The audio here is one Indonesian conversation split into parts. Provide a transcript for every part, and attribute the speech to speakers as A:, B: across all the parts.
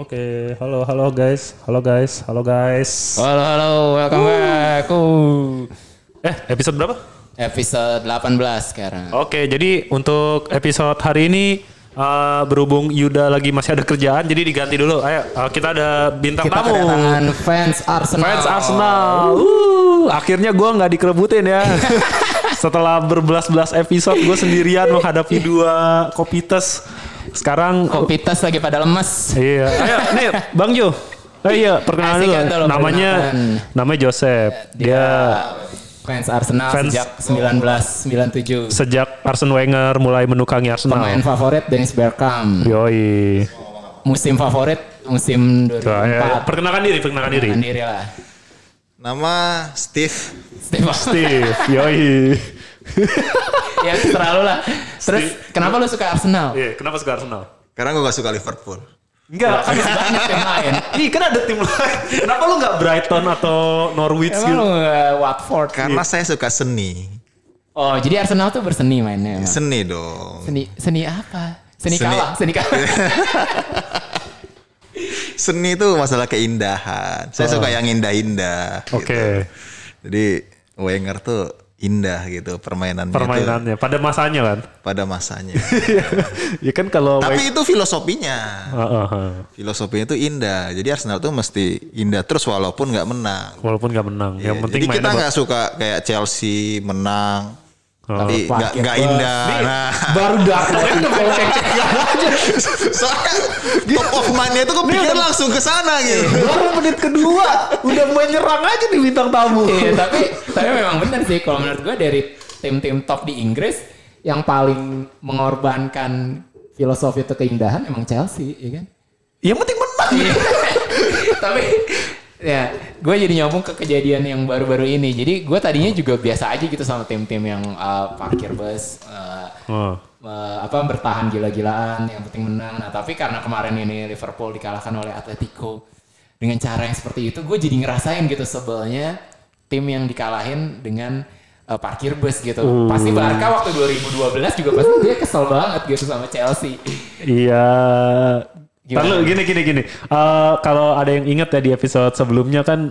A: Oke, halo halo guys, halo guys, halo guys.
B: Halo, halo, welcome back. Wuh.
A: Eh, episode berapa?
B: Episode 18 sekarang.
A: Oke, jadi untuk episode hari ini eh, berhubung Yuda lagi masih ada kerjaan, jadi diganti dulu. Ayo, eh, kita ada bintang
B: Kita
A: tamu.
B: kedatangan fans Arsenal.
A: Fans Arsenal. Uh, akhirnya gue nggak dikerebutin ya. Setelah berbelas-belas episode gue sendirian
B: Iya.
A: menghadapi dua kopites. Sekarang
B: Kopitas lagi pada lemes.
A: Iya. Ayo, nih Bang Jo. Oh iya, perkenalan
B: Asik
A: dulu.
B: ya tuh lo
A: namanya
B: perkenalan.
A: namanya Joseph.
B: Iya.
A: Dia
B: Fans Arsenal
A: Fans-
B: sejak 1997.
A: sejak Arsene Wenger mulai menukangi
B: Pemain
C: ya.
A: Arsenal.
B: favorit Dennis Bergkamp.
A: Yoi.
B: Musim favorit musim
C: Iya.
A: Tuh, ya, ya.
B: 2004.
A: Perkenalkan diri, perkenalkan diri.
B: Sendiri lah.
C: Nama Steve.
B: Steve.
A: Steve, yoi.
B: ya terlalu lah. Terus kenapa lu suka Arsenal?
A: Iya, kenapa suka Arsenal?
C: Karena gue gak suka Liverpool.
A: Enggak, kan
B: Banyak yang lain.
A: Ih, kan ada tim lain. Kenapa lu nggak Brighton atau Norwich
B: Emang
A: gitu?
B: lu nggak Watford? kan?
A: Iya.
C: Karena saya suka seni.
B: Oh, jadi Arsenal tuh berseni
A: Iya.
B: mainnya. emang.
C: Seni dong.
B: Seni seni apa? Seni,
C: Seni-
B: kalah, seni kalah.
C: Seni itu masalah keindahan. Saya suka yang indah-indah. gitu.
A: Oh. Oke.
C: Jadi Wenger tuh indah gitu Iya. permainannya. tuh
A: Permainannya pada masanya kan.
C: pada masanya.
A: ya kan kalau
C: Tapi itu filosofinya.
A: Heeh, heeh.
C: Filosofinya itu indah. Jadi Arsenal tuh mesti indah terus walaupun nggak menang.
A: walaupun nggak menang, yang
C: Ya,
A: penting
C: Jadi kita
A: mainnya
C: nggak suka kayak Chelsea menang.
A: Oh.
C: Tapi nggak nggak indah. Nah,
B: Baru daftar udah cek-cek aja.
C: soalnya top of mind-nya itu kepikiran langsung ke sana gitu.
A: Baru menit kedua udah menyerang aja di bintang tamu.
B: Iya, tapi tapi memang benar sih kalau menurut gue dari tim-tim top di Inggris yang paling mengorbankan filosofi itu keindahan emang Chelsea, ya kan?
A: Yang penting menang.
B: Iya. tapi ya gue jadi nyambung ke kejadian yang baru-baru ini. Jadi gue tadinya juga biasa aja gitu sama tim-tim yang uh, parkir bus. uh,
A: Oh.
B: eh, apa bertahan gila-gilaan yang penting menang nah tapi karena kemarin ini Liverpool dikalahkan oleh Atletico dengan cara yang seperti itu gue jadi ngerasain gitu sebelnya tim yang dikalahin dengan eh, parkir bus gitu
A: Uh.
B: pasti Barca waktu 2012 juga pasti dia kesel banget gitu sama Chelsea
A: Iya. Lalu
B: Gimana?
A: gini gini gini. Eh, kalau ada yang ingat ya di episode sebelumnya kan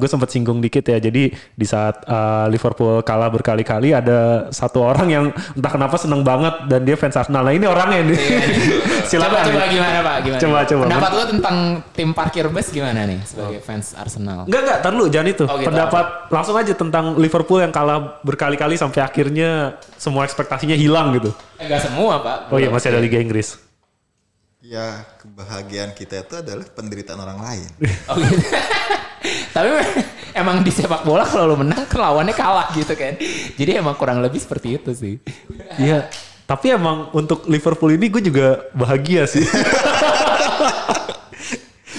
A: gue sempat singgung dikit ya. Jadi di saat eh, Liverpool kalah berkali-kali ada satu orang yang entah kenapa seneng banget dan dia fans Arsenal. Nah ini orangnya nih.
B: Iya, coba
A: Silakan.
B: coba gimana pak gimana
A: Coba, coba. Oh.
B: pendapat lo tentang tim parkir bus gimana nih sebagai fans Arsenal
A: Enggak enggak, tar dulu jangan itu.
B: Oh, gitu.
A: Pendapat langsung aja tentang Liverpool yang kalah berkali-kali sampai akhirnya semua ekspektasinya hilang gitu.
B: enggak semua pak
A: Oh iya masih ada Liga Inggris.
C: Ya kebahagiaan kita itu adalah penderitaan orang lain.
B: Oh gitu. Tapi emang di sepak bola kalau lo menang lawannya kalah gitu kan. Jadi emang kurang lebih seperti itu sih. Eh,
A: Iya. Tapi emang untuk Liverpool ini gue juga bahagia sih.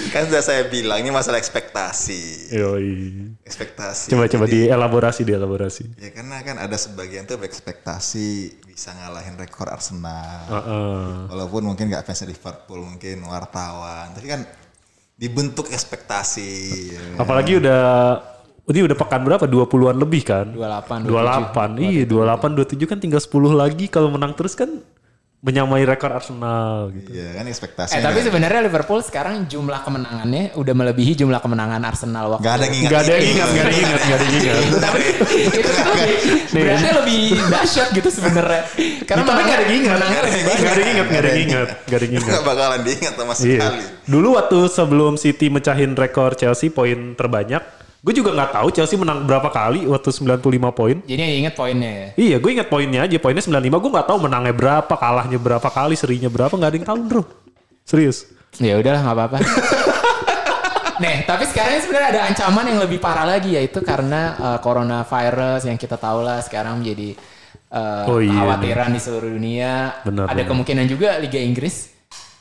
C: kan sudah saya bilang ini masalah ekspektasi.
A: Yoi.
C: Ekspektasi.
A: Coba coba
C: Iya, Jadi,
A: dielaborasi dielaborasi.
C: Ya karena kan ada sebagian tuh ekspektasi bisa ngalahin rekor Arsenal.
A: Heeh.
C: Walaupun mungkin nggak fans Liverpool, mungkin wartawan. Tapi kan dibentuk ekspektasi. ya.
A: Apalagi udah ini udah pekan berapa? 20-an lebih kan?
B: 28,
A: 28. Iya, 28 27 kan tinggal 10 lagi kalau menang terus kan menyamai rekor Arsenal gitu.
C: Iya kan ekspektasi.
B: Eh tapi sebenarnya Liverpool sekarang jumlah kemenangannya udah melebihi jumlah kemenangan Arsenal waktu.
C: Gak ada yang ingat
A: Gak ada yang
C: itu.
A: ingat, gak ada yang ingat, gak ada yang ingat.
B: Tapi itu kan lebih- berarti lebih dahsyat gitu sebenarnya. Karena
A: Tapi gak ada yang ingat.
B: menangnya lebih banyak.
A: Gak ada yang ingat, gak ada yang ingat, gak ada yang ingat.
C: Gak bakalan diingat sama
A: Iya.
C: sekali.
A: Dulu waktu sebelum City mecahin rekor Chelsea poin terbanyak, gue juga nggak tahu Chelsea menang berapa kali waktu 95 poin.
B: Jadi yang inget poinnya ya.
A: Iya, gue ingat poinnya aja. Poinnya 95, gue nggak tahu menangnya berapa, kalahnya berapa kali, serinya berapa, nggak ada yang tahu, bro. Serius.
B: Ya udahlah nggak apa-apa. Nih, tapi sekarang sebenarnya ada ancaman yang lebih parah lagi yaitu karena uh, coronavirus yang kita tahu lah sekarang menjadi uh,
A: Oh iya,
B: khawatiran di seluruh dunia.
A: Benar,
B: ada
A: benar.
B: kemungkinan juga Liga Inggris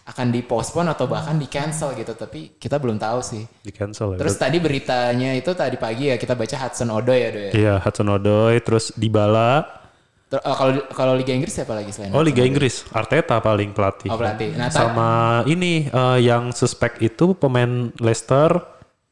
B: akan dipospon atau bahkan di cancel gitu, tapi kita belum tahu sih.
A: Di cancel ya.
B: Terus tadi beritanya itu tadi pagi ya kita baca Hudson Odoi ya, Doy.
A: Iya, Hudson Odoi, terus Dybala.
B: Ter- uh, Kalau kalau Liga Inggris siapa lagi selain?
A: Oh, Liga Inggris. Arteta paling pelatih.
B: Oh, pelatih. Nah, ta-
A: sama ini eh, yang suspek itu pemain Leicester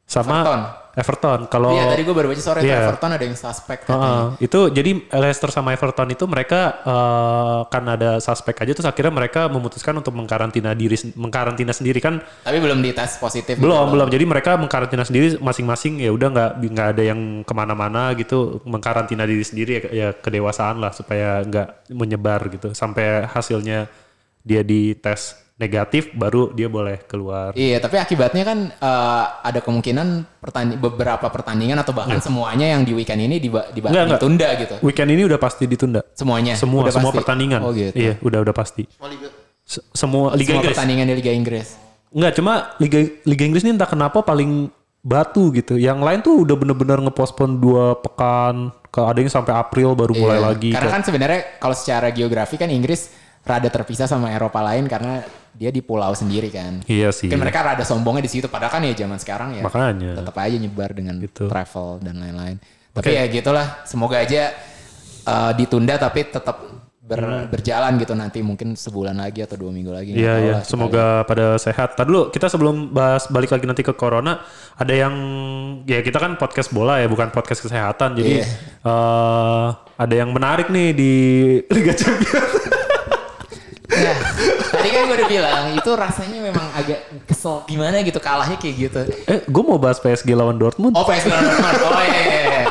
A: sama
B: Everton.
A: Everton. Kalau
B: Iya tadi gue baru baca sore
A: Oh,
B: itu
A: Iya.
B: Everton ada yang suspek katanya.
A: Heeh. itu jadi Leicester sama Everton itu mereka eh, kan ada suspek aja terus akhirnya mereka memutuskan untuk mengkarantina diri sen- mengkarantina sendiri kan
B: Tapi belum dites positif.
A: belum belum jadi mereka mengkarantina sendiri masing-masing ya udah nggak nggak ada yang kemana-mana gitu mengkarantina diri sendiri ya, ya kedewasaan lah supaya nggak menyebar gitu sampai hasilnya dia dites negatif baru dia boleh keluar
B: Iya, tapi akibatnya kan eh, ada kemungkinan pertanding beberapa pertandingan atau bahkan
A: Iya.
B: semuanya yang di weekend ini diba- diba-
A: Nggak, nggak.
B: ditunda gitu.
A: weekend ini udah pasti ditunda
B: Semuanya.
A: semua
B: Iya, udah
A: semua
B: pasti.
A: pertandingan
B: Oh gitu.
A: iya udah udah pasti
C: Semua liga.
A: Se- semua Liga
B: semua
A: Inggris
B: pertandingan di Liga Inggris.
A: Enggak, cuma Liga Liga Inggris ini entah kenapa paling batu gitu. Yang lain tuh udah bener-bener ngepospon dua pekan. Ke ada yang sampai April baru mulai
B: Iya.
A: lagi.
B: Karena
A: Kayak-
B: kan sebenarnya kalau secara geografi kan Inggris rada terpisah sama Eropa lain karena dia di pulau sendiri kan.
A: iya sih.
B: Mungkin mereka rada sombongnya di situ padahal kan ya zaman sekarang ya.
A: Makanya.
B: Tetap aja nyebar dengan
A: Gitu.
B: travel dan lain-lain. Tapi ya gitulah, semoga aja eh, ditunda tapi tetap ber- berjalan gitu nanti mungkin sebulan lagi atau dua minggu lagi.
A: Hmm. Iya
B: Nggak tahu
A: iya,
B: lah kita
A: semoga pada sehat. Tadi dulu kita sebelum bahas balik lagi nanti ke corona, ada yang ya kita kan podcast bola ya, bukan podcast kesehatan. Jadi
B: Iya.
A: eh, ada yang menarik nih di Liga Champions.
B: Ya, tadi kan gue udah bilang itu rasanya memang agak kesel gimana gitu kalahnya kayak gitu.
A: eh, gue mau bahas PSG lawan Dortmund.
B: Oh PS Dortmund. Oh iya, iya, iya.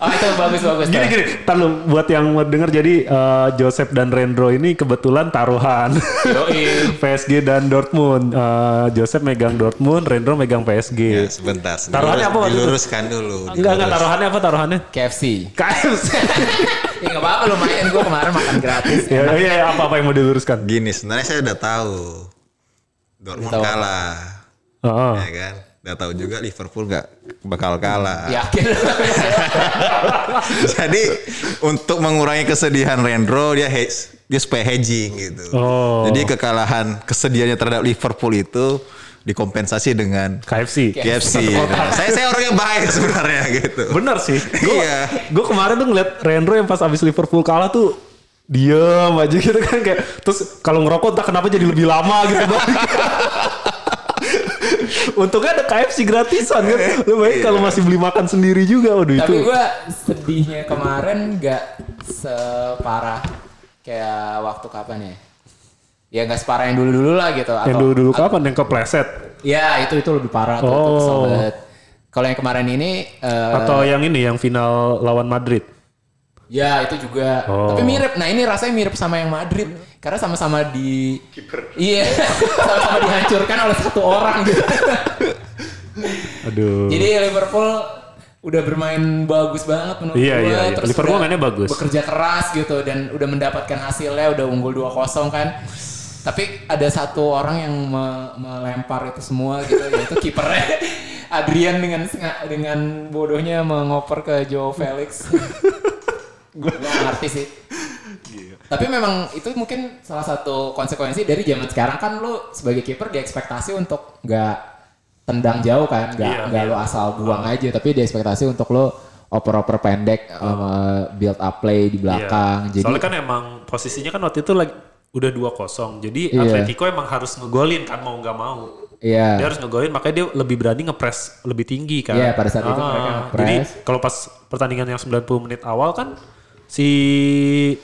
B: Oh itu bagus bagus.
A: Gini gini, Ntar lu buat yang mau denger jadi eh, Joseph dan Rendro ini kebetulan taruhan.
B: Yoi.
A: PSG dan Dortmund. Eh, Joseph megang Dortmund, Rendro megang PSG.
C: Ya, sebentar.
A: Iya. Taruhannya apa waktu itu?
C: Diluruskan dulu.
A: Enggak enggak
C: dilurus.
A: taruhannya apa taruhannya?
B: KFC.
A: KFC.
B: Ya nggak apa-apa lumayan gue kemarin makan gratis.
A: ya, ya, ya, apa apa yang mau diluruskan?
C: Gini, sebenarnya saya udah tahu. Dortmund
B: Tahu.
C: kalah,
A: Heeh.
C: ya kan? Udah tahu juga Liverpool nggak bakal kalah.
A: Ya.
B: Yakin.
C: Jadi untuk mengurangi kesedihan Rendro dia hedge, dia supaya hedging gitu.
A: Oh.
C: Jadi kekalahan kesedihannya terhadap Liverpool itu dikompensasi dengan
A: KFC.
C: KFC. Nah, saya saya orang yang baik sebenarnya gitu.
A: Bener sih. Gue
C: Iya.
A: gue kemarin tuh ngeliat Rendro yang pas abis Liverpool kalah tuh diam aja gitu kan kayak terus kalau ngerokok entah kenapa jadi lebih lama gitu Untungnya ada KFC gratisan kan. Lu baik kalau masih beli makan sendiri juga. Waduh itu.
B: Iya. Tapi gue sedihnya kemarin nggak separah kayak waktu kapan ya? Ya nggak separah yang dulu dulu lah gitu.
A: Yang
B: Atau-
A: dulu dulu kapan yang kepleset
B: Ya itu itu lebih parah. Tuh, itu
A: Oh.
B: kesel banget. Kalau yang kemarin ini, eh,
A: atau yang ini yang final lawan Madrid.
B: ya itu juga.
A: Oh.
B: Tapi mirip. Nah ini rasanya mirip sama yang Madrid, karena sama-sama di. Iya, sama-sama dihancurkan oleh satu orang gitu.
A: Aduh.
B: Jadi Liverpool udah bermain bagus banget menurut
A: Iya,
B: gua,
A: iya, iya.
B: terus
A: Liverpool
B: udah
A: mainnya bagus.
B: Bekerja keras gitu dan udah mendapatkan hasilnya udah unggul 2-0 kan. Tapi ada satu orang yang me- melempar itu semua gitu yaitu kipernya Adrian dengan senga- dengan bodohnya mengoper ke Joe Felix. Gua nggak ngerti sih. Tapi memang itu mungkin salah satu konsekuensi dari zaman sekarang kan lu sebagai kiper diekspektasi untuk nggak tendang jauh kan, nggak
A: Iya,
B: nggak
A: iya.
B: lu asal buang aja, tapi diekspektasi untuk lu oper-oper pendek, um, build up play di
A: Ah.
B: belakang.
A: Iya.
B: Jadi
A: Soalnya kan emang posisinya kan waktu itu lagi udah 2-0. Jadi
B: Iya.
A: Atletico emang harus ngegolin kan mau nggak mau.
B: iya.
A: Dia harus ngegolin makanya dia lebih berani ngepres lebih tinggi kan.
B: Iya, pada saat itu mereka ngepres.
A: Jadi kalau pas pertandingan yang 90 menit awal kan si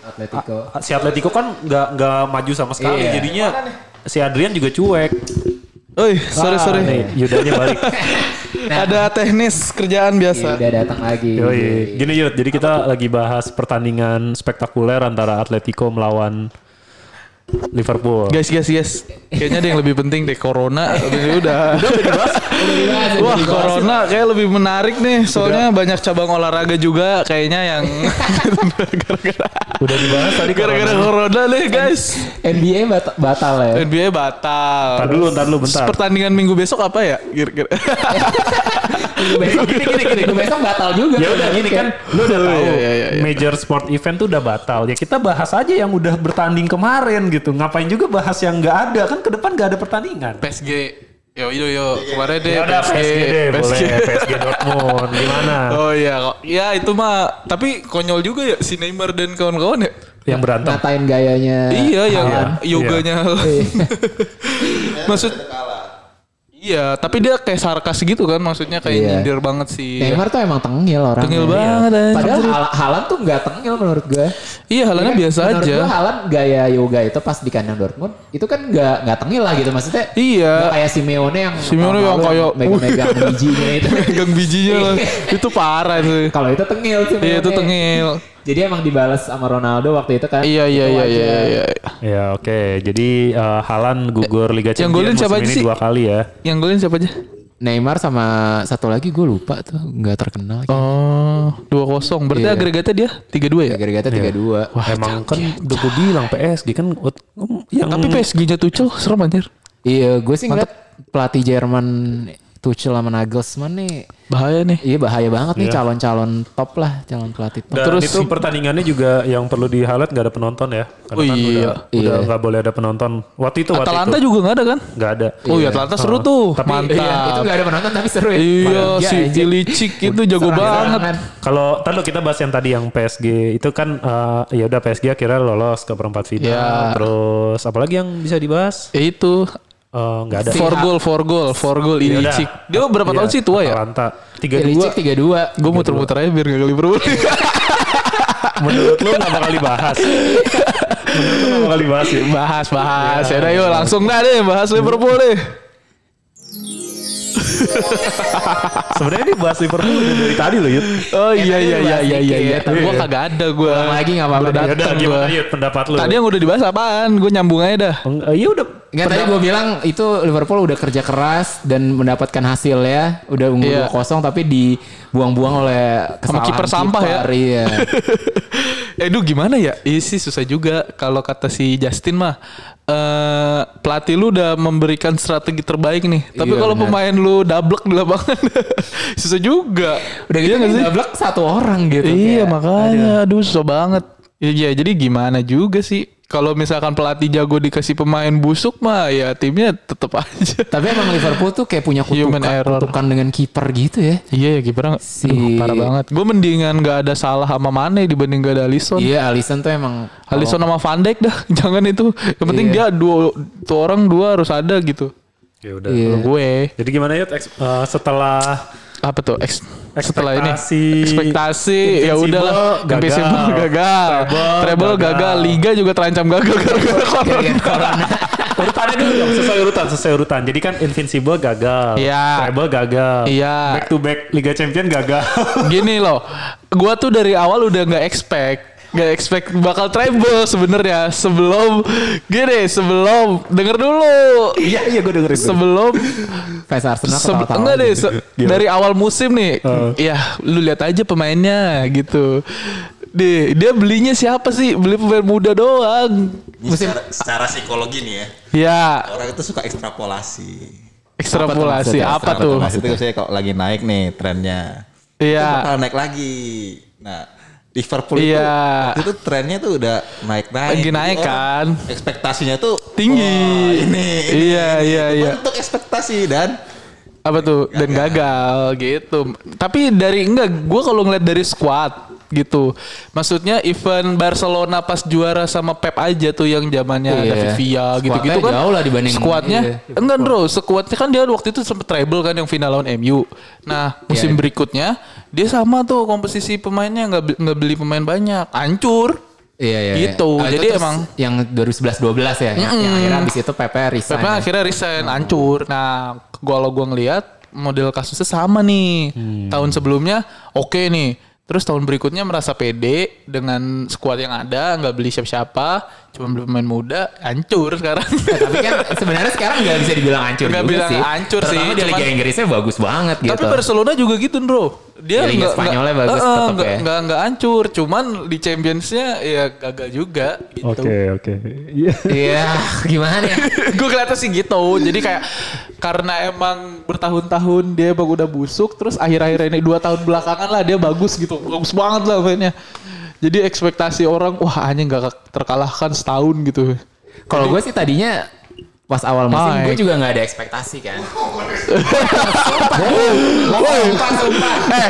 B: Atletico.
A: A- si Atletico kan nggak nggak maju sama sekali
B: Iya.
A: jadinya si Adrian juga cuek.
D: Oi,
A: Ah,
D: sorry sorry.
A: nih, Nah. Yudanya balik.
D: Ada teknis kerjaan
B: Iya,
D: biasa.
B: udah datang lagi.
A: Yoi. Gini Yud, jadi kita lagi bahas pertandingan spektakuler antara Atletico melawan Liverpool.
D: Guys, guys, guys. Kayaknya ada yang lebih penting deh corona. Ini udah. Wah, corona kayak lebih menarik nih. Soalnya banyak cabang olahraga juga kayaknya yang gara-gara
A: Udah dibahas tadi
D: gara-gara
A: corona.
D: corona nih, guys.
B: NBA bat- batal ya.
D: NBA
A: Ntar
D: batal.
A: dulu, Iya. ntar dulu bentar.
D: Pertandingan minggu besok apa ya? Kira-kira.
B: Minggu besok gini gini gini. Minggu besok batal juga.
A: Ya udah gini kan, lu udah tahu
D: Iya, iya, iya, iya.
A: major sport event tuh udah batal. Ya kita bahas aja yang udah bertanding kemarin gitu. Ngapain juga bahas yang nggak ada kan ke depan nggak ada pertandingan.
D: PSG. Yo yo yo. Kemarin deh
A: Ya udah PSG deh, boleh PSG Dortmund gimana?
D: Oh iya, kok. ya itu mah. Tapi konyol juga ya si Neymar dan kawan-kawan ya.
A: Yang berantem.
B: Ngatain gayanya.
D: iya, yang
A: Haaland.
D: yoganya. Maksud
C: Kalah.
D: iya. Iya, tapi dia kayak sarkas gitu kan, maksudnya kayak
B: Iya.
D: nyindir banget sih.
B: Neymar tuh emang tengil orang.
D: Tengil banget, eh.
B: Padahal Hal- Haaland tuh nggak tengil menurut gue.
D: Iya,
B: Iya
D: halannya
B: kan?
D: biasa
B: Menurut
D: aja.
B: gua Haaland gaya yoga itu pas di kandang Dortmund itu kan nggak nggak tengil lah gitu maksudnya.
D: Iya.
B: nggak kayak Simeone yang
D: Simeone
B: tahun
D: yang
B: lalu
D: kayak- uh.
B: megang-megang bijinya itu. Iya.
D: Pegang bijinya lah. Itu parah sih.
B: Kalau itu tengil Simeone.
D: Iya, itu tengil.
B: Jadi emang dibalas sama Ronaldo waktu itu kan.
D: Iya,
B: Itu
D: iya, iya, iya,
B: wajar.
D: iya.
A: Ya oke, jadi eh, Haaland gugur Liga
D: Yang
A: Champions
D: golin
A: musim
D: siapa aja
A: ini
D: sih?
A: dua kali ya.
D: Yang golin siapa aja?
B: Neymar sama satu lagi gue lupa tuh nggak terkenal. Oh.
D: Oh, 2-0. Berarti
B: Iya.
D: agregatnya dia 3-2 ya?
B: Gara-gara tiga dua.
A: Emang kan udah gue bilang PSG kan ut- yang
D: Tapi PSG-nya Tuchel serem anjir.
B: Iya gue sih ngeliat pelatih Jerman Tuchel sama Nagelsmann nih.
D: Bahaya nih.
B: Iya bahaya banget nih calon-calon top lah, calon pelatih top.
A: Dan
D: Terus
A: itu pertandingannya juga yang perlu di highlight nggak ada penonton ya. Karena
D: Oh
A: kan
D: iya,
A: udah udah nggak boleh ada penonton. Waktu itu waktu
D: Atalanta
A: itu
D: juga nggak ada kan?
A: nggak ada.
D: Oh iya, Atalanta seru tuh.
A: Tapi-
D: Mantap.
B: Iya, itu gak ada penonton tapi seru ya.
D: Iya,
B: Bahagia
D: si
B: aja.
D: Ilicik itu jago
B: Serang-serangan.
D: banget.
A: Kalau tadi kita bahas yang tadi yang PSG itu kan eh, ya udah PSG akhirnya lolos ke perempat final.
D: Iya.
A: Terus apalagi yang bisa dibahas?
D: Ya itu.
A: Eh, Nggak ada.
D: Four goal, four goal, four goal
A: Ya udah.
D: Ilicik. Dia berapa tahun
A: Iya,
D: sih tua ya?
A: Atalanta tiga dua.
B: Ilicik 32.
D: Gue muter-muter aja biar gak kali berulang.
A: Menurut lu nggak bakal dibahas? Menurut lu nggak bakal dibahas ya?
D: bahas, bahas. Ya udah yuk langsung dah deh bahas Liverpool deh.
A: Sebenarnya ini bahas Liverpool udah dari tadi loh, Yud.
D: Oh
B: Ya,
D: iya
B: tadi lu
D: iya iya
B: bahas
D: iya iya.
B: dikit,
D: iya.
B: tapi
D: Gue
B: iya.
D: kagak ada gue.
B: Ulang lagi nggak apa-apa.
A: Ya udah,
D: Datang
A: gimana
D: gua.
A: Yud pendapat lu?
D: Tadi yang udah dibahas apaan? Gue nyambung aja dah.
A: Eng- eh, ya udah.
B: Enggak tadi gue bilang itu Liverpool udah kerja keras dan mendapatkan hasil ya. Udah unggul
D: Iya.
B: 2-0 tapi dibuang-buang oleh
D: Sama
B: kesalahan
D: kiper sampah ya.
B: kiper, Iya.
D: eh duh gimana ya? Iya sih susah juga kalau kata si Justin mah eh pelatih lu udah memberikan strategi terbaik nih. Tapi
B: Iya,
D: kalau
B: benar.
D: pemain lu dablek di lapangan susah juga.
B: Udah gitu
D: Iya nggak
B: kan
D: sih?
B: dablek satu orang gitu.
D: Iya
B: kayak.
D: makanya, aduh susah banget. Iya jadi gimana juga sih kalau misalkan pelatih jago dikasih pemain busuk mah ya timnya tetep aja.
B: Tapi emang Liverpool tuh kayak punya kutukan,
D: Human error.
B: kutukan dengan kiper gitu ya.
D: Iya ya kipernya
B: Si-
D: aduh, parah banget. Gue mendingan gak ada salah sama Mane dibanding gak ada Alisson.
B: Iya, Alisson tuh emang
D: Alisson sama Van Dijk dah, jangan itu. Yang penting
B: Iya.
D: dia dua, dua orang dua harus ada gitu.
A: Ya udah.
B: Iya.
D: Menurut Gue
A: Jadi gimana Yud Eks- eh, setelah
D: apa tuh eks- setelah ini
A: Ekspektasi.
D: ekspektasi ya
A: Invincible
D: udahlah
A: gagal.
D: Invincible gagal
A: Treble
D: treble
A: gagal. Iya,
D: gagal liga juga terancam gagal gara-gara corona.
B: gara-gara corona.
A: urutannya dulu dong sesuai urutan sesuai urutan jadi kan Invincible gagal
D: Iya.
A: Treble gagal
D: Iya.
A: back to back Liga Champion gagal
D: gini loh gua tuh dari awal udah nggak expect nggak expect bakal treble sebenarnya sebelum gini sebelum denger dulu
A: iya iya gue dengerin
D: sebelum
B: fans Arsenal
D: sebe-
B: ketawa-tawa
D: enggak deh
B: gitu.
D: se- dari awal musim nih ya lu lihat aja pemainnya gitu deh dia belinya siapa sih beli pemain muda doang
C: Ini secara, secara psikologi nih ya.
D: ya
C: Orang itu suka ekstrapolasi.
D: ekstrapolasi
C: Iya,
B: maksudnya?
D: apa tuh
C: Ekstrapolasi itu saya kalau lagi naik nih trennya. Itu
D: iya
C: bakal naik lagi. Nah, Liverpool itu,
D: Iya.
C: waktu itu trennya tuh udah naik-naik.
D: Lagi
C: Jadi
D: naik
C: orang
D: kan.
C: Ekspektasinya tuh
D: Tinggi.
C: wah, ini, ini,
D: Iya,
C: ini.
D: iya,
C: Itu
D: iya.
C: Bentuk ekspektasi dan
D: apa tuh dan gagal gitu tapi dari enggak gue kalau ngeliat dari squad gitu maksudnya event Barcelona pas juara sama Pep aja tuh yang zamannya ada
B: Iya.
D: Vivia gitu gitu
B: Squadnya
D: kan
B: jauh lah dibanding-
D: squadnya
B: iya.
D: enggak bro squadnya kan dia waktu itu sempet treble kan yang final lawan MU nah musim
B: Iya.
D: berikutnya dia sama tuh komposisi pemainnya nggak be- nggak beli pemain banyak hancur
B: Iya, iya.
D: Gitu,
B: iya. itu
D: jadi
B: terus
D: emang-
B: yang 2011-12 ya, yang, yang akhirnya habis itu PP resign. kan.
D: Pepe akhirnya resign, hancur. Nah, kalau gue ngelihat model kasusnya sama nih.
B: Hmm.
D: Tahun sebelumnya oke nih. Terus tahun berikutnya merasa pede dengan skuad yang ada, nggak beli siapa-siapa, cuma beli pemain muda, hancur sekarang.
B: Ya, tapi kan sebenarnya sekarang nggak bisa dibilang hancur
D: Nggak
B: juga
D: bilang
B: sih.
D: hancur sih,
B: Terutama di Liga
D: cuman-
B: Inggrisnya bagus banget gitu.
D: Tapi Barcelona juga gitu, Bro.
B: Ya,
D: Dia
B: Liga Spanyolnya bagus
D: eh, eh,
B: tetep
D: nggak-
B: ya.
D: nggak- nggak hancur, cuman di Champions-nya ya gagal juga gitu.
A: oke oke Iya.
B: Iya, gimana ya?
D: gue kelihatan sih gitu jadi kayak karena emang bertahun-tahun dia emang udah busuk terus akhir-akhir ini dua tahun belakangan lah dia bagus gitu bagus banget lah mainnya jadi ekspektasi orang wah hanya nggak terkalahkan setahun gitu
B: Kalau gue sih tadinya pas awal musim gue
D: Baik.
B: juga nggak ada ekspektasi kan. Sumpah, sumpah, sumpah.
D: eh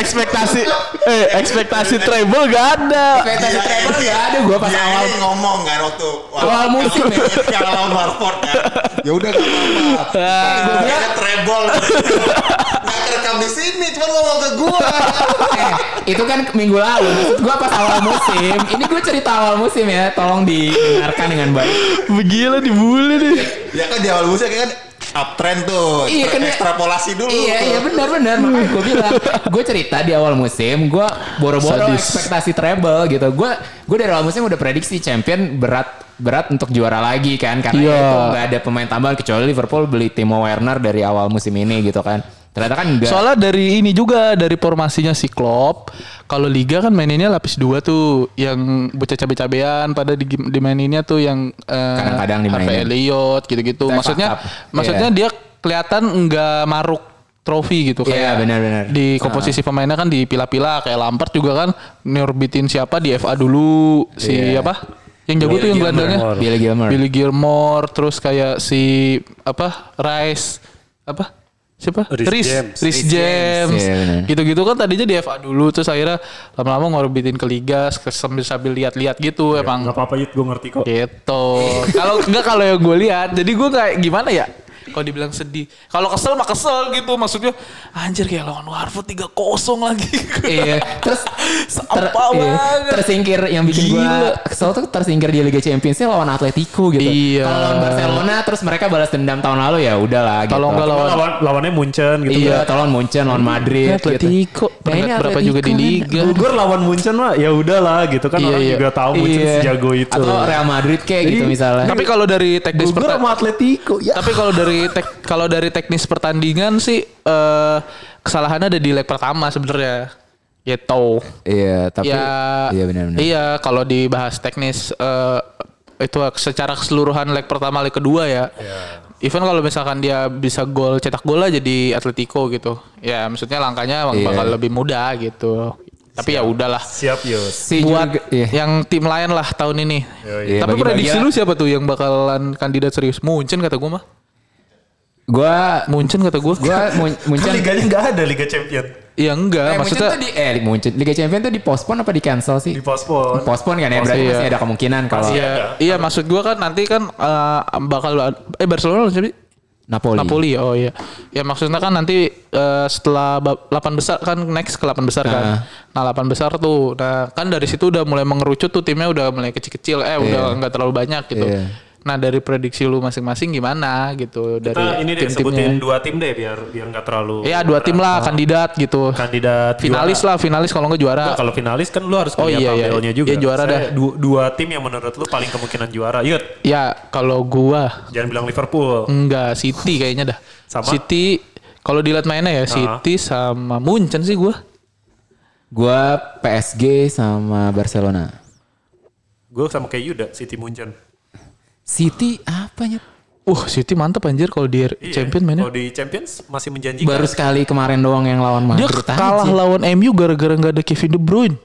D: ekspektasi eh ekspektasi treble gak ada
C: Iya,
B: Ekspektasi travel
D: Iya,
B: nggak ada gue pas
C: Dia
B: awal
C: ini Iya, ngomong kan waktu
B: Awal musim ya.
C: Kalau lawan Watford kan. Ya udah gak
B: Eh,
C: apa-apa.
B: Nah.
C: Gue
D: Iya.
C: bilang treble. Gak kerekam di sini, cuma ngomong ke gue.
B: Eh, itu kan minggu lalu. Maksud gue pas awal musim. Ini gue cerita awal musim ya. Tolong didengarkan dengan baik.
D: begila dibully nih
C: Ya kan di awal musim kan uptrend tuh.
B: Iya, kan ya.
C: Ekstrapolasi dulu.
B: Iya
C: tuh.
B: iya benar benar makanya gue bilang gue cerita di awal musim gue boro-boro
D: Sadis.
B: ekspektasi treble gitu gue gue dari awal musim udah prediksi champion berat berat untuk juara lagi kan karena
D: Iya.
B: itu nggak ada pemain tambahan kecuali Liverpool beli Timo Werner dari awal musim ini gitu kan ternyata kan enggak
D: Soalnya dari ini juga dari formasinya si Klopp, kalau liga kan maininnya lapis dua tuh yang bocah cabe-cabean pada di, dimaininnya tuh yang eh,
B: Kadang-kadang dimainin.
D: Harvey Elliott gitu-gitu.
B: Kayak
D: Maksudnya
B: fuck up.
D: maksudnya dia kelihatan nggak maruk trofi gitu
B: Iya,
D: kayak
B: benar-benar. Ah.
D: di komposisi pemainnya kan dipilah-pilah kayak Lampard juga kan nyorbitin siapa di FA dulu si
B: Iya.
D: apa yang jago tuh yang
B: Gilmour.
D: gelandangnya
B: Billy Gilmore
D: Billy Gilmore terus kayak si apa Rice apa siapa
A: Rhys
D: Rhys
A: James.
D: Rhys
B: Rhys James,
D: James
B: iya benar.
D: gitu-gitu kan tadinya di FA dulu terus akhirnya lama-lama ngorbitin ke liga ke- sambil sambil lihat-lihat gitu
A: Gak
D: emang
A: Iya, apa-apa Yud, gue ngerti kok.
D: gitu kalau enggak kalau yang gue lihat jadi gue kayak gimana ya kalau dibilang sedih kalau kesel mah kesel gitu maksudnya anjir kayak lawan Warford 3-0 lagi
B: Iya, terus ter,
D: Sampah
B: iya,
D: banget.
B: tersingkir yang bikin
D: Gila.
B: gua kesel tuh tersingkir di Liga Championsnya lawan Atletico gitu.
D: Iya.
B: Kalau lawan Barcelona terus mereka balas dendam tahun lalu ya udahlah gitu.
D: kalau enggak lawan
A: Lawan, lawannya Munchen gitu.
B: Iya, tolong Munchen lawan Madrid
D: Ini Atletico.
B: Nah, ini
D: Peringkat berapa
B: Atletico
D: juga di
B: kan.
D: Liga.
A: Bogor lawan Munchen mah ya udahlah gitu kan
D: Iya,
A: orang
D: iya.
A: juga tahu Munchen
B: Iya.
A: sejago itu.
B: Atau Real Madrid kayak gitu misalnya.
D: tapi kalau dari teknis
A: Bogor
D: perta-
A: sama Atletico ya.
D: Tapi kalau dari tek- kalau dari teknis pertandingan sih eh kesalahannya ada di leg pertama sebenarnya. Gitu.
B: iya, tapi
D: ya
B: iya benar-benar.
D: Iya, kalau dibahas teknis eh itu secara keseluruhan leg pertama leg kedua ya.
A: Iya.
D: Even kalau misalkan dia bisa gol cetak gol aja di Atletico gitu. Ya, maksudnya langkahnya emang
B: Iya.
D: bakal lebih mudah gitu. Tapi ya udahlah.
A: Siap Yus.
B: Si
D: Buat
B: juga- iya.
D: yang tim lain lah tahun ini.
B: iya.
D: Tapi
B: Bagi-bagi
D: prediksi
B: lah.
D: lu siapa tuh yang bakalan kandidat serius? Munchen kata gua mah.
B: gua
D: Munchen kata gua.
B: gua Mun-
A: Kan
B: Munchen
A: liganya nggak ada Liga Champion
D: Ya enggak,
B: Eh, Munchen
D: maksudnya
B: tuh di eh Munchen Liga Champions tuh di postpone apa di cancel sih?
A: di pospon.
B: Postpone kan ya berarti
D: Iya.
B: masih ada kemungkinan kalau
D: Iya, iya maksud gua kan nanti kan eh, bakal eh Barcelona lawan siapa sih?
B: Napoli.
D: Napoli. Oh iya. Ya maksudnya kan nanti eh, setelah bab- 8 besar kan next ke 8 besar kan.
B: Ah.
D: Nah, 8 besar tuh. Nah, kan dari situ udah mulai mengerucut tuh timnya udah mulai kecil-kecil. Eh, udah nggak terlalu banyak gitu.
B: Iya.
D: Nah, dari prediksi lu masing-masing gimana gitu
A: Kita
D: dari
A: ini deh sebutin Ah.
D: tim-timnya?
A: dua tim deh biar biar nggak terlalu
D: Iya, dua tim lah kandidat gitu.
A: kandidat
D: Finalis lah, finalis kalau nggak juara.
A: Nah, Kan kalau finalis kan lu harus
D: Oh,
A: punya
D: iya, iya.
A: tabelnya juga.
D: Iya, juara
A: Saya
D: dah.
A: du- dua tim yang menurut lu paling kemungkinan juara. Yud,
D: Ya, kalau gua
A: jangan bilang Liverpool.
D: Enggak, City kayaknya dah.
A: Sama?
D: City kalau dilihat mainnya ya City sama Munchen sih gua.
B: Gua PSG sama Barcelona.
A: Gue sama kayak Yuda, City Munchen.
B: City apanya?
D: Wah, Uh, City mantep anjir kalau
A: Iya.
D: di Champion mainnya.
A: Kalau di Champions masih menjanjikan.
B: Baru sekali kemarin doang yang lawan
D: Dia
B: Madrid. aja.
D: kalah lawan MU gara-gara nggak ada Kevin De Bruyne.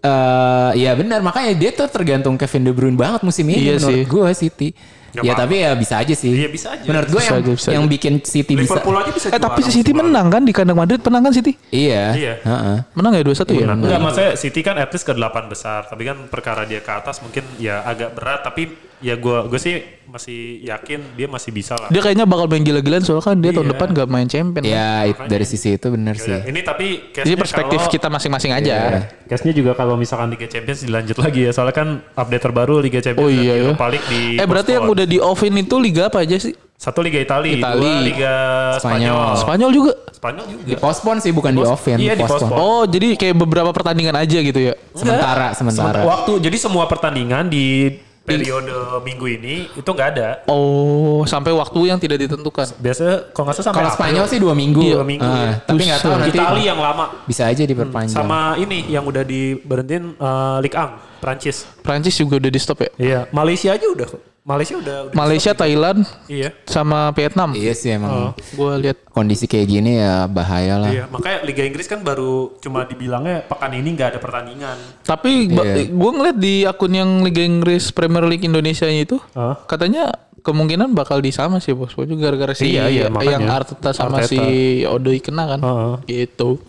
B: Eh, ya benar makanya dia tuh tergantung Kevin De Bruyne banget musim ini
D: Iya
B: menurut
D: sih.
B: gue City.
A: Gak
B: ya
A: apa-apa.
B: tapi ya bisa aja sih.
A: Iya, bisa aja.
B: Menurut gue
D: Bisa
B: yang,
D: aja, bisa
B: yang
D: aja.
B: bikin City
A: Liverpool
B: bisa.
A: aja bisa
D: Eh tapi
A: juara
D: City
A: musim lalu.
D: menang kan di kandang Madrid menang kan City?
B: Iya.
A: Iya.
B: Heeh.
D: Menang ya 2-1 ya?
A: Enggak, maksudnya City kan at least ke 8 besar, tapi kan perkara dia ke atas mungkin ya agak berat, tapi ya gua gue sih masih yakin dia masih bisa lah. Ya
D: Dia kayaknya bakal main gila-gilaan soalnya kan dia tahun
A: Iya.
D: depan nggak main Champion.
B: Ya it- dari sisi itu
A: Ya
B: benar sih.
A: udah, Ini tapi
D: Iya. Jadi perspektif kita masing-masing aja.
B: Iya.
A: Case-nya juga kalau misalkan Liga Champions dilanjut lagi ya, soalnya kan update terbaru Liga Champions
D: Oh iya
A: dan
D: ya.
A: Europa League di
D: Eh berarti yang
A: postpone.
D: udah di offin itu liga apa aja sih?
A: satu Liga Italia,
D: Itali.
A: dua Liga
B: Spanyol.
A: Spanyol.
D: Spanyol juga.
A: Spanyol juga.
B: Di postpone sih bukan di
A: Pos-
B: offin.
A: iya, di
B: postpone.
A: postpone.
D: Oh jadi kayak beberapa pertandingan aja gitu ya?
B: Sementara sementara.
A: Waktu jadi semua pertandingan di periode minggu ini itu nggak ada.
D: Oh sampai waktu yang tidak ditentukan.
A: Biasanya kalau nggak salah sampai
B: Kalau
A: April.
B: Spanyol sih dua minggu.
A: Iya, dua minggu,
B: Ah,
A: iya.
B: tapi nggak tahu nanti
A: Itali yang lama
B: bisa aja diperpanjang.
A: sama ini yang udah diberhentiin eh, Ligue 1 Prancis.
D: Prancis juga udah di stop ya?
A: Iya, Malaysia aja udah. kok. Malaysia udah. udah
D: Malaysia, Thailand,
A: Iya.
D: sama Vietnam.
B: Iya sih emang.
D: Gue lihat
B: Kondisi kayak gini ya bahaya lah.
A: Oh. Iya, makanya Liga Inggris kan baru cuma dibilangnya pekan ini nggak ada pertandingan.
D: Tapi
B: Iya.
D: gue ngeliat di akun yang Liga Inggris Premier League Indonesia itu
A: Hah?
D: katanya kemungkinan bakal di sama sih bos. Bos juga gara-gara si
A: Iya, iya,
D: yang
A: makanya.
D: Arteta sama
A: Arteta.
D: si Odoi kena kan.
A: Heeh.
D: Gitu.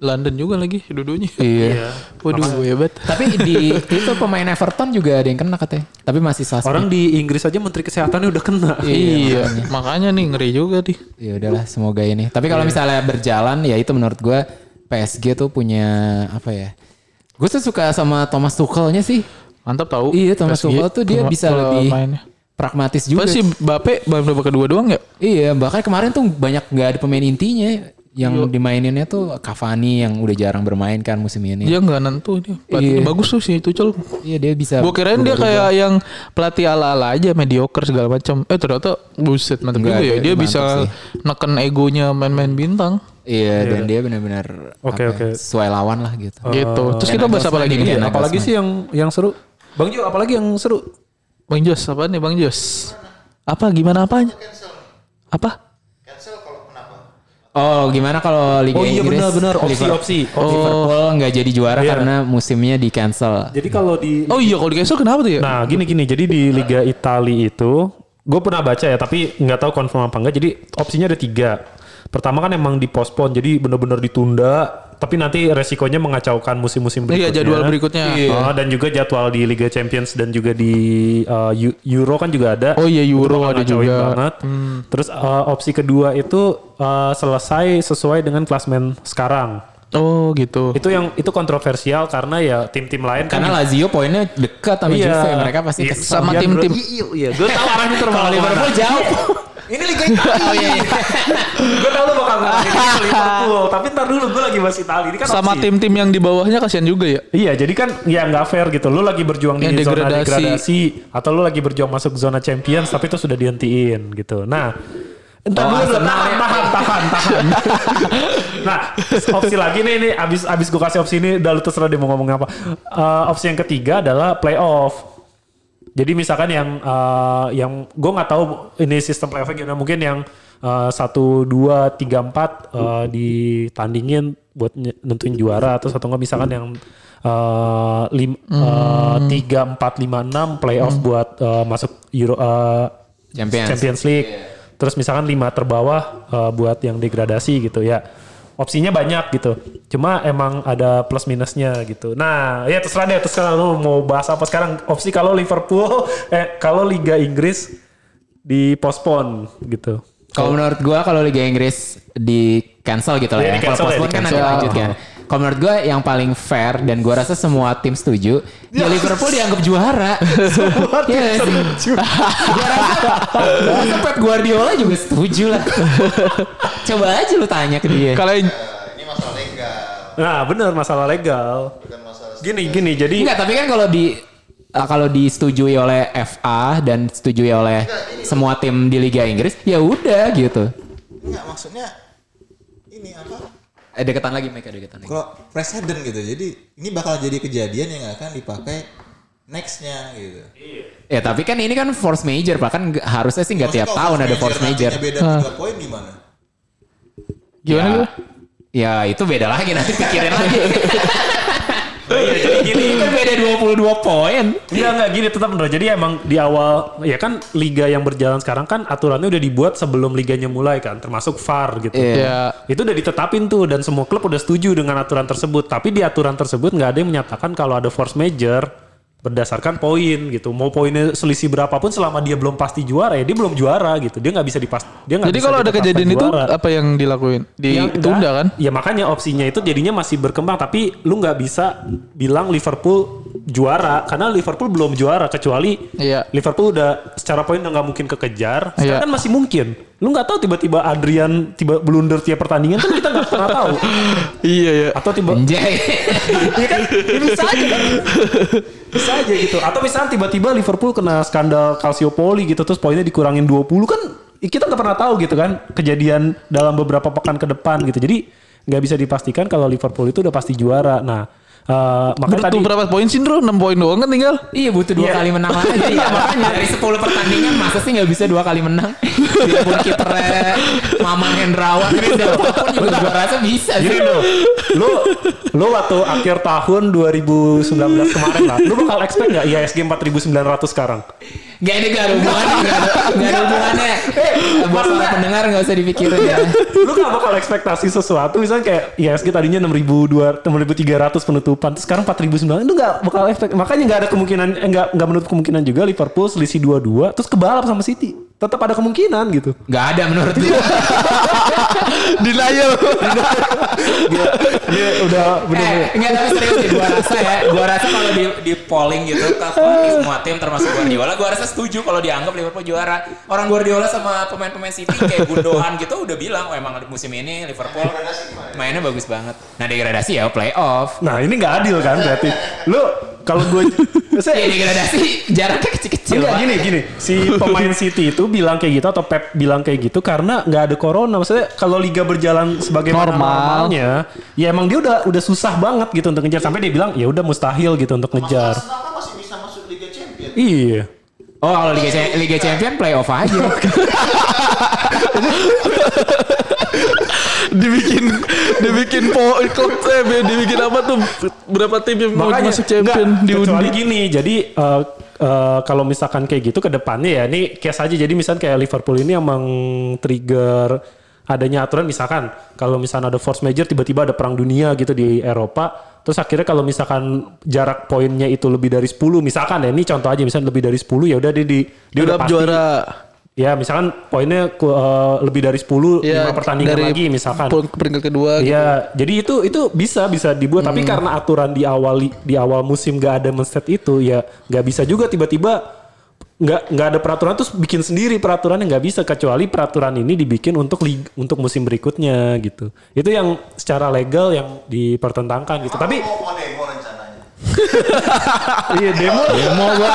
D: London juga lagi dudunya.
A: Iya.
D: Waduh, hebat.
B: Tapi di itu pemain Everton juga ada yang kena katanya. Tapi masih suspek.
A: Orang di Inggris aja menteri kesehatannya udah kena.
D: Iya, makanya nih ngeri juga nih.
B: Ya udahlah semoga ini. Tapi kalau misalnya berjalan ya itu menurut gue PSG tuh punya apa ya? Gue tuh suka sama Thomas Tuchelnya sih.
D: Mantap tahu.
B: Iya Thomas
D: PSG
B: Tuchel tuh dia
D: pema-
B: bisa
D: pema-
B: lebih
D: mainnya.
B: pragmatis juga.
D: Pas si Bape baru babak kedua doang ya?
B: Iya bahkan kemarin tuh banyak nggak ada pemain intinya. Yang dimaininnya tuh Cavani yang udah jarang bermain kan musim ini.
D: Dia nggak nentu dia. Pelatih
B: Iya.
D: bagus tuh si Tuchel.
B: Iya dia bisa.
D: Gue kirain dia
B: berubah-ubah.
D: kayak yang pelatih ala-ala aja mediocre segala macam. Eh ternyata buset mantap
B: Nggak,
D: juga ya.
B: dia-
D: Dia
B: mantap
D: bisa
B: sih.
D: neken egonya main-main bintang.
B: Iya dan dia benar-benar
A: Oke,
B: apa ya,
A: oke.
B: sesuai lawan lah gitu.
D: gitu. Terus kita bahas apa lagi
B: Iya,
D: nih?
A: Iya,
B: Nagelsmann.
A: apalagi Oh, sih yang yang seru? Bang Jo, apalagi yang seru?
D: Bang Jos, apa nih Bang Jos? Apa gimana apanya? Apa?
B: Oh gimana kalau Liga
A: Oh iya,
B: Inggris?
A: benar-benar. Opsi,
B: Liverpool-
A: opsi.
B: Liverpool nggak jadi juara
A: Iya.
B: karena musimnya di cancel.
A: Jadi kalau di
D: Oh iya kalau di cancel kenapa tuh ya?
A: Nah, gini gini. Jadi di Liga Italia itu, gue pernah baca ya, tapi nggak tahu konfirm apa enggak. Jadi opsinya ada tiga. Pertama kan emang dipospon, jadi bener-bener ditunda. Tapi nanti resikonya mengacaukan musim-musim berikutnya.
D: Iya, jadwal berikutnya. Iya.
A: Oh, dan juga jadwal di Liga Champions dan juga di uh, Eu- Euro kan juga ada.
D: Oh iya,
A: Itu
D: Euro
A: bakal
D: ada
A: ngacauin
D: juga.
A: Banget. Terus uh, opsi kedua itu uh, selesai sesuai dengan klasmen sekarang.
D: Oh gitu.
A: Itu yang itu kontroversial karena ya tim-tim lain kan
B: Karena Lazio poinnya dekat sama Juve, mereka pasti
A: Iya,
B: kesel.
D: Sama
A: iya,
D: tim-tim.
A: bro. Iya, iya. Gue tahu arahnya terlalu
B: Kalau Liverpool jauh. Ini Liga
D: Oh, iya, iya.
A: Gue tahu lu bakal ngalahin itu Liverpool. Tapi ntar dulu gue lagi bahas Itali. Ini kan
D: Sama
A: opsi.
D: tim-tim yang di bawahnya kasihan juga ya.
A: Iya, jadi kan ya nggak fair gitu. Lu lagi berjuang
D: Ya,
A: di zona
D: degradasi.
A: degradasi atau lu lagi berjuang masuk zona Champions tapi itu sudah dihentiin gitu. Nah, entar
B: Oh,
A: dulu dulu.
B: Arsenal
A: tahan,
B: ya.
A: tahan, tahan, tahan. nah, opsi lagi nih nih abis abis gue kasih opsi ini udah lu terserah dia mau ngomong apa. Eh, opsi yang ketiga adalah playoff. Jadi misalkan yang eh, yang gue nggak tahu ini sistem playoff gimana mungkin yang eh, satu dua tiga empat eh, ditandingin buat nye- nentuin juara atau satu nggak misalkan yang eh, lim- eh, tiga empat lima enam playoff buat eh, masuk Euro eh,
B: Champions.
A: League. iya. Terus misalkan lima terbawah eh, buat yang degradasi gitu ya. Opsinya banyak gitu. Cuma emang ada plus minusnya gitu. Nah, ya terserah deh terserah lu mau bahas apa sekarang. Opsi kalau Liverpool eh kalau Liga Inggris dipospon gitu.
B: Kalau menurut gua kalau Liga Inggris di cancel gitu lah
A: Iya,
B: ya. Kalau
A: di-cancel ya,
B: postpone kan nanti
A: di-cancel.
B: lanjut kan. Kalau menurut gua yang paling fair dan gua rasa semua tim setuju, ya Liverpool dianggap juara. semua tim setuju. gua rasa, gua rasa Pep Guardiola juga setuju lah. Coba aja lu tanya ke
A: Eh.
B: dia.
D: Kalau yang-
C: ini masalah legal
A: Nah, bener masalah legal.
C: bukan masalah
A: Gini gini jadi
B: Enggak, tapi kan kalau di eh, kalau disetujui oleh FA dan disetujui oleh semua tim di Liga Inggris, ya udah gitu.
C: enggak maksudnya ini apa
B: Eh deketan lagi mereka deketan lagi.
C: kalau presiden gitu jadi ini bakal jadi kejadian yang akan dipakai nextnya gitu
B: Ya tapi kan ini kan force major, bahkan nggak- harusnya sih nggak
C: Maksudnya
B: tiap
C: kalau
B: tahun ada
C: major
B: force major.
C: nantinya beda tiga poin gimana
D: gimana
B: Ya,
D: lu?
B: ya itu beda lagi nanti pikirin lagi.
A: Iya, jadi gini
B: Ini kan beda 22 poin.
A: Enggak, enggak gini tetap bener. Jadi emang di awal ya kan liga yang berjalan sekarang kan aturannya udah dibuat sebelum liganya mulai kan, termasuk VAR gitu.
D: Iya.
A: Itu udah ditetapin tuh dan semua klub udah setuju dengan aturan tersebut. Tapi di aturan tersebut nggak ada yang menyatakan kalau ada force major berdasarkan poin gitu. Mau poinnya selisih berapapun selama dia belum pasti juara ya dia belum juara gitu. Dia nggak bisa dipas dia nggak
D: Jadi
A: bisa
D: kalau ada
A: ditetapkan
D: kejadian itu
A: juara.
D: apa yang dilakuin?
A: Ya,
D: Ditunda
A: enggak.
D: kan?
A: Ya makanya opsinya itu jadinya masih berkembang tapi lu nggak bisa bilang Liverpool juara karena Liverpool belum juara kecuali
D: Iya.
A: Liverpool udah secara poin udah nggak mungkin kekejar. Sekarang
D: Iya.
A: kan masih mungkin. Lu nggak tahu tiba-tiba Adrian tiba blunder tiap pertandingan kan kita nggak pernah tahu.
D: Iya ya.
A: Atau tiba
B: Anjay.
A: Iya kan? Ya bisa aja kan? Bisa aja gitu. Atau misalnya tiba-tiba Liverpool kena skandal Calciopoli gitu terus poinnya dikurangin 20 kan kita nggak pernah tahu gitu kan kejadian dalam beberapa pekan ke depan gitu. Jadi nggak bisa dipastikan kalau Liverpool itu udah pasti juara. Nah, eh, makanya
D: Butuh
A: tadi
D: berapa poin sih Bro? 6 poin doang kan tinggal.
B: Iya butuh dua
A: Iya.
B: kali menang aja. Iya makanya dari 10 pertandingan masa sih nggak bisa dua kali menang. Biarpun kipernya Mamang Hendrawan, Chris Dapo pun juga gua rasa bisa
A: Gini
B: sih.
A: lo, lo, lo waktu akhir tahun 2019 kemarin lah, lo bakal expect nggak IHSG 4.900 sekarang?
B: Gak ini gak ada hubungannya, gak ada, gak ada hubungannya. Buat para pendengar gak usah dipikirin ya.
A: lu gak bakal ekspektasi sesuatu misalnya kayak ISG tadinya 6.200 6.300 penutupan terus sekarang 4.900 itu gak bakal efek makanya gak ada kemungkinan eh, gak, gak menutup kemungkinan juga Liverpool selisih 2-2 terus kebalap sama City tetap ada kemungkinan gitu
B: Gak ada menurut lu.
D: Denial.
A: dia udah bener-bener
B: Eh, enggak tapi serius sih gua rasa ya, gua rasa kalau di, di polling gitu ke
A: Ah.
B: ke semua tim termasuk Guardiola, gua rasa setuju kalau dianggap Liverpool juara. Orang Guardiola sama pemain-pemain City kayak Gundogan gitu udah bilang, "Oh, emang musim ini Liverpool mainnya bagus banget." Nah, degradasi ya playoff.
A: nah ini gak adil kan berarti lu kalau gue
B: Ya degradasi jaraknya kecil-kecil.
A: Enggak
B: Pak.
A: gini gini si pemain City itu bilang kayak gitu atau Pep bilang kayak gitu karena nggak ada corona maksudnya kalau liga berjalan sebagaimana
D: Normal.
A: normalnya ya emang dia udah udah susah banget gitu untuk ngejar sampai dia bilang ya udah mustahil gitu untuk
C: Masalah
A: ngejar
C: Arsenal kan masih bisa masuk Liga Champions.
A: iya
B: Oh, kalau Liga, Cha- Liga Champion playoff aja.
D: dibikin dibikin po klub eh, dibikin apa tuh berapa tim yang mau
A: makanya
D: masuk champion
A: enggak, kecuali
D: diundi
A: gini jadi eh, eh, kalau misalkan kayak gitu ke depannya ya ini case aja jadi misalkan kayak Liverpool ini emang trigger adanya aturan misalkan kalau misalkan ada force major tiba-tiba ada perang dunia gitu di Eropa terus akhirnya kalau misalkan jarak poinnya itu lebih dari 10 misalkan ya ini contoh aja misalkan lebih dari 10 ya udah dia di dia udah
D: udah
A: pasti
D: juara
A: ya misalkan poinnya ku- eh, lebih dari 10 lima pertandingan lagi misalkan
D: pe- Iya, peringkat kedua gitu.
A: Iya, jadi itu itu bisa bisa dibuat tapi karena aturan di awal di awal musim gak ada men-set itu ya nggak bisa juga tiba-tiba nggak nggak ada peraturan terus bikin sendiri peraturan yang nggak bisa kecuali peraturan ini dibikin untuk lig, untuk musim berikutnya gitu. Itu yang secara legal yang dipertentangkan gitu. Tapi
C: mau mau demo rencananya.
A: iya demo
D: demo gua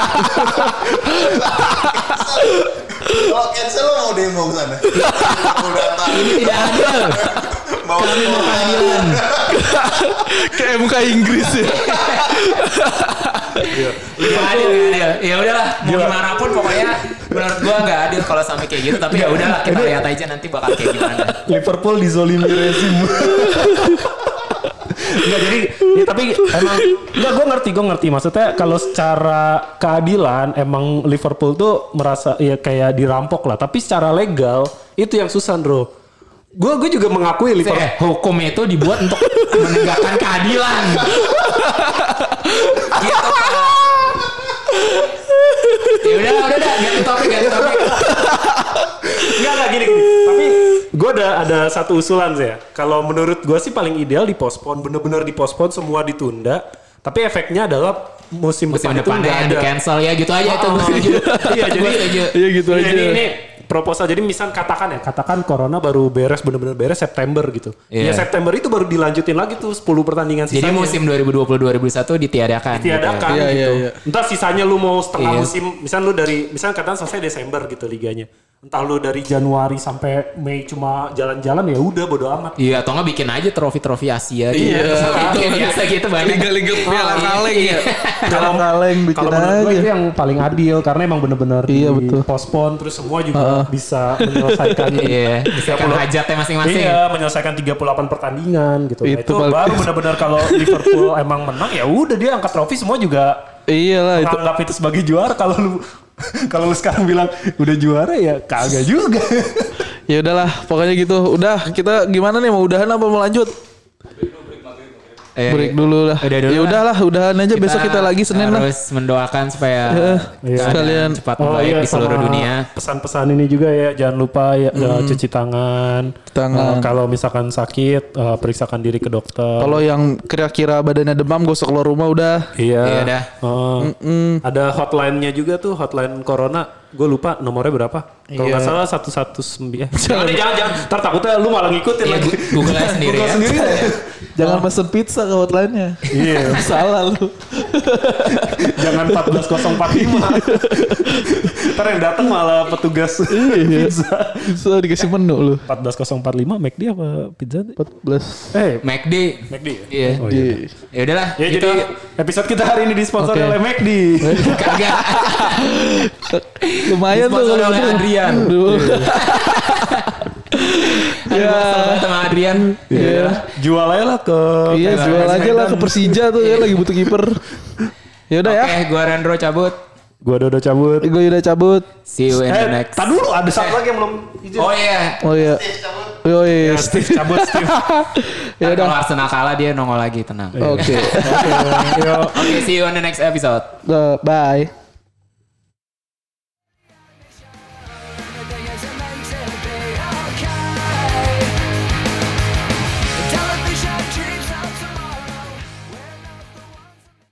C: Kalau cancel lo mau demo ke sana. Mau datang.
B: Tidak adil.
C: Mau demo.
D: ke MK Inggris ya
B: Tidak adil, nggak adil. Ya udahlah, mau
A: Oh, iya. Gila.
B: gimana pun pokoknya menurut gua nggak adil kalau sampai kayak gitu.
A: Iya.
B: Tapi ya udahlah kita lihat aja nanti bakal kayak gimana.
A: Liverpool dizolimi rezim. Enggak jadi ya, tapi emang enggak gue ngerti gue ngerti maksudnya kalau secara keadilan emang Liverpool tuh merasa ya kayak dirampok lah tapi secara legal itu yang susah bro gue gue juga mengakui Liverpool
D: Iya.
B: Eh, hukum itu dibuat untuk menegakkan keadilan. gitu Pak. Ya udah, udah, udah, ganti topik, ganti topik.
A: Enggak, enggak gini, gini. Tapi gue ada ada satu usulan sih ya. Kalau menurut gue sih paling ideal dipospon, bener-bener dipospon semua ditunda. Tapi efeknya adalah musim,
B: Musim
A: depan itu
B: depannya
A: nggak
B: yang
A: ada.
B: di cancel ya gitu aja itu.
A: Oh,
B: Gua setuju.
A: iya,
B: Gua
A: jadi-
B: setuju.
D: iya gitu
A: Iya,
D: aja
A: Ini, ini proposal. Jadi misal katakan ya, katakan corona baru beres bener-bener beres September gitu. Ya
B: Iya.
A: September itu baru dilanjutin lagi tuh 10 pertandingan
B: Jadi
A: sisanya.
B: musim 2020-2021 ditiadakan.
A: tiadakan
D: Iya,
A: gitu.
D: iya, iya.
A: Entah sisanya lu mau setengah
B: Iya.
A: musim, misal lu dari misal katakan selesai Desember gitu liganya. Entah lu dari Januari sampai Mei cuma jalan-jalan ya udah bodo amat.
B: Iya, atau nggak bikin aja trofi-trofi Asia gitu.
D: Iya.
B: Itu kayak biasa gitu banyak.
D: liga-liga piala
B: iya.
D: kaleng ya piala
A: Oh, Kalau
D: kaleng bikin
A: kalau menurut iya. gue
D: aja
A: itu yang paling adil karena emang bener-bener
D: Iya, betul.
A: pospon terus semua juga bisa menyelesaikan
B: Iya, misalkan hajatnya masing-masing.
A: Iya, menyelesaikan 38 pertandingan gitu. Nah,
D: Itu
A: itu
D: paling-
A: baru benar-benar kalau Liverpool emang menang ya udah dia angkat trofi semua juga
D: iyalah itu
A: menganggap itu sebagai juara kalau lu kalau lu sekarang bilang udah juara ya kagak juga.
D: ya udahlah pokoknya gitu udah kita gimana nih mau udahan apa mau lanjut
A: Iya,
B: Eh,
D: break dulu lah
B: Udah dulu
D: ya
B: lah.
D: udahlah udahan aja besok kita lagi senin lah
B: harus mendoakan supaya
D: Heeh.
A: Iya.
B: keadaan
D: Sekalian.
B: cepat membaik di seluruh
A: sama
B: dunia.
A: Pesan-pesan ini juga ya jangan lupa ya, eh, cuci tangan.
D: Hmm. tangan.
A: Eh, kalau misalkan sakit eh, periksakan diri ke dokter.
D: Kalau yang kira-kira badannya demam gosok keluar rumah udah.
A: Iya.
B: Iya dah.
A: Oh. Ada hotline-nya juga tuh, hotline corona. Gue lupa nomornya berapa. Kalau nggak salah 119. Eh, jangan, deh, jangan, jangan. Ntar takutnya lu malah ngikutin
B: Iya,
A: lagi.
B: gu- Google aja sendiri ya.
D: Jangan pesen pizza ke hotline-nya.
A: Iya.
D: Salah lu.
A: jangan 14045. Ntar yang datang malah petugas pizza.
D: Pizza dikasih menu lu.
A: 14045 McD apa pizza?
D: 14.
A: Eh,
B: McD.
A: McD ya?
B: Iya.
A: Oh, iya.
B: Ya udahlah.
A: Ya
B: gitu.
A: jadi episode kita hari ini disponsori
D: Oke.
A: oleh McD.
B: kagak.
D: Iya. Lumayan tuh
B: Disponsori
D: kalau
B: oleh
D: gitu.
B: Adrian.
D: Aduh. Ya.
B: Aduh, kesel banget sama Adrian.
D: Iya.
A: Jual aja lah ke
D: Iya, jual aja lah ke Persija tuh ya lagi butuh kiper. Ya udah
B: Oke,
D: ya.
B: gua Rendro cabut.
A: Gua Dodo cabut.
D: Gue udah cabut.
B: See you in the
A: Eh,
B: next.
A: tak dulu ada satu lagi yang belum izin.
B: Oh iya.
D: Oh iya. Oh iya.
A: Steve cabut Steve.
D: Ya
B: Ntar
D: udah.
B: Kalau Arsenal kalah dia nongol lagi tenang.
A: Iya,
B: Oke,
D: Oke.
B: see you on the next episode.
D: Eh, Bye.
E: Another day is amazing.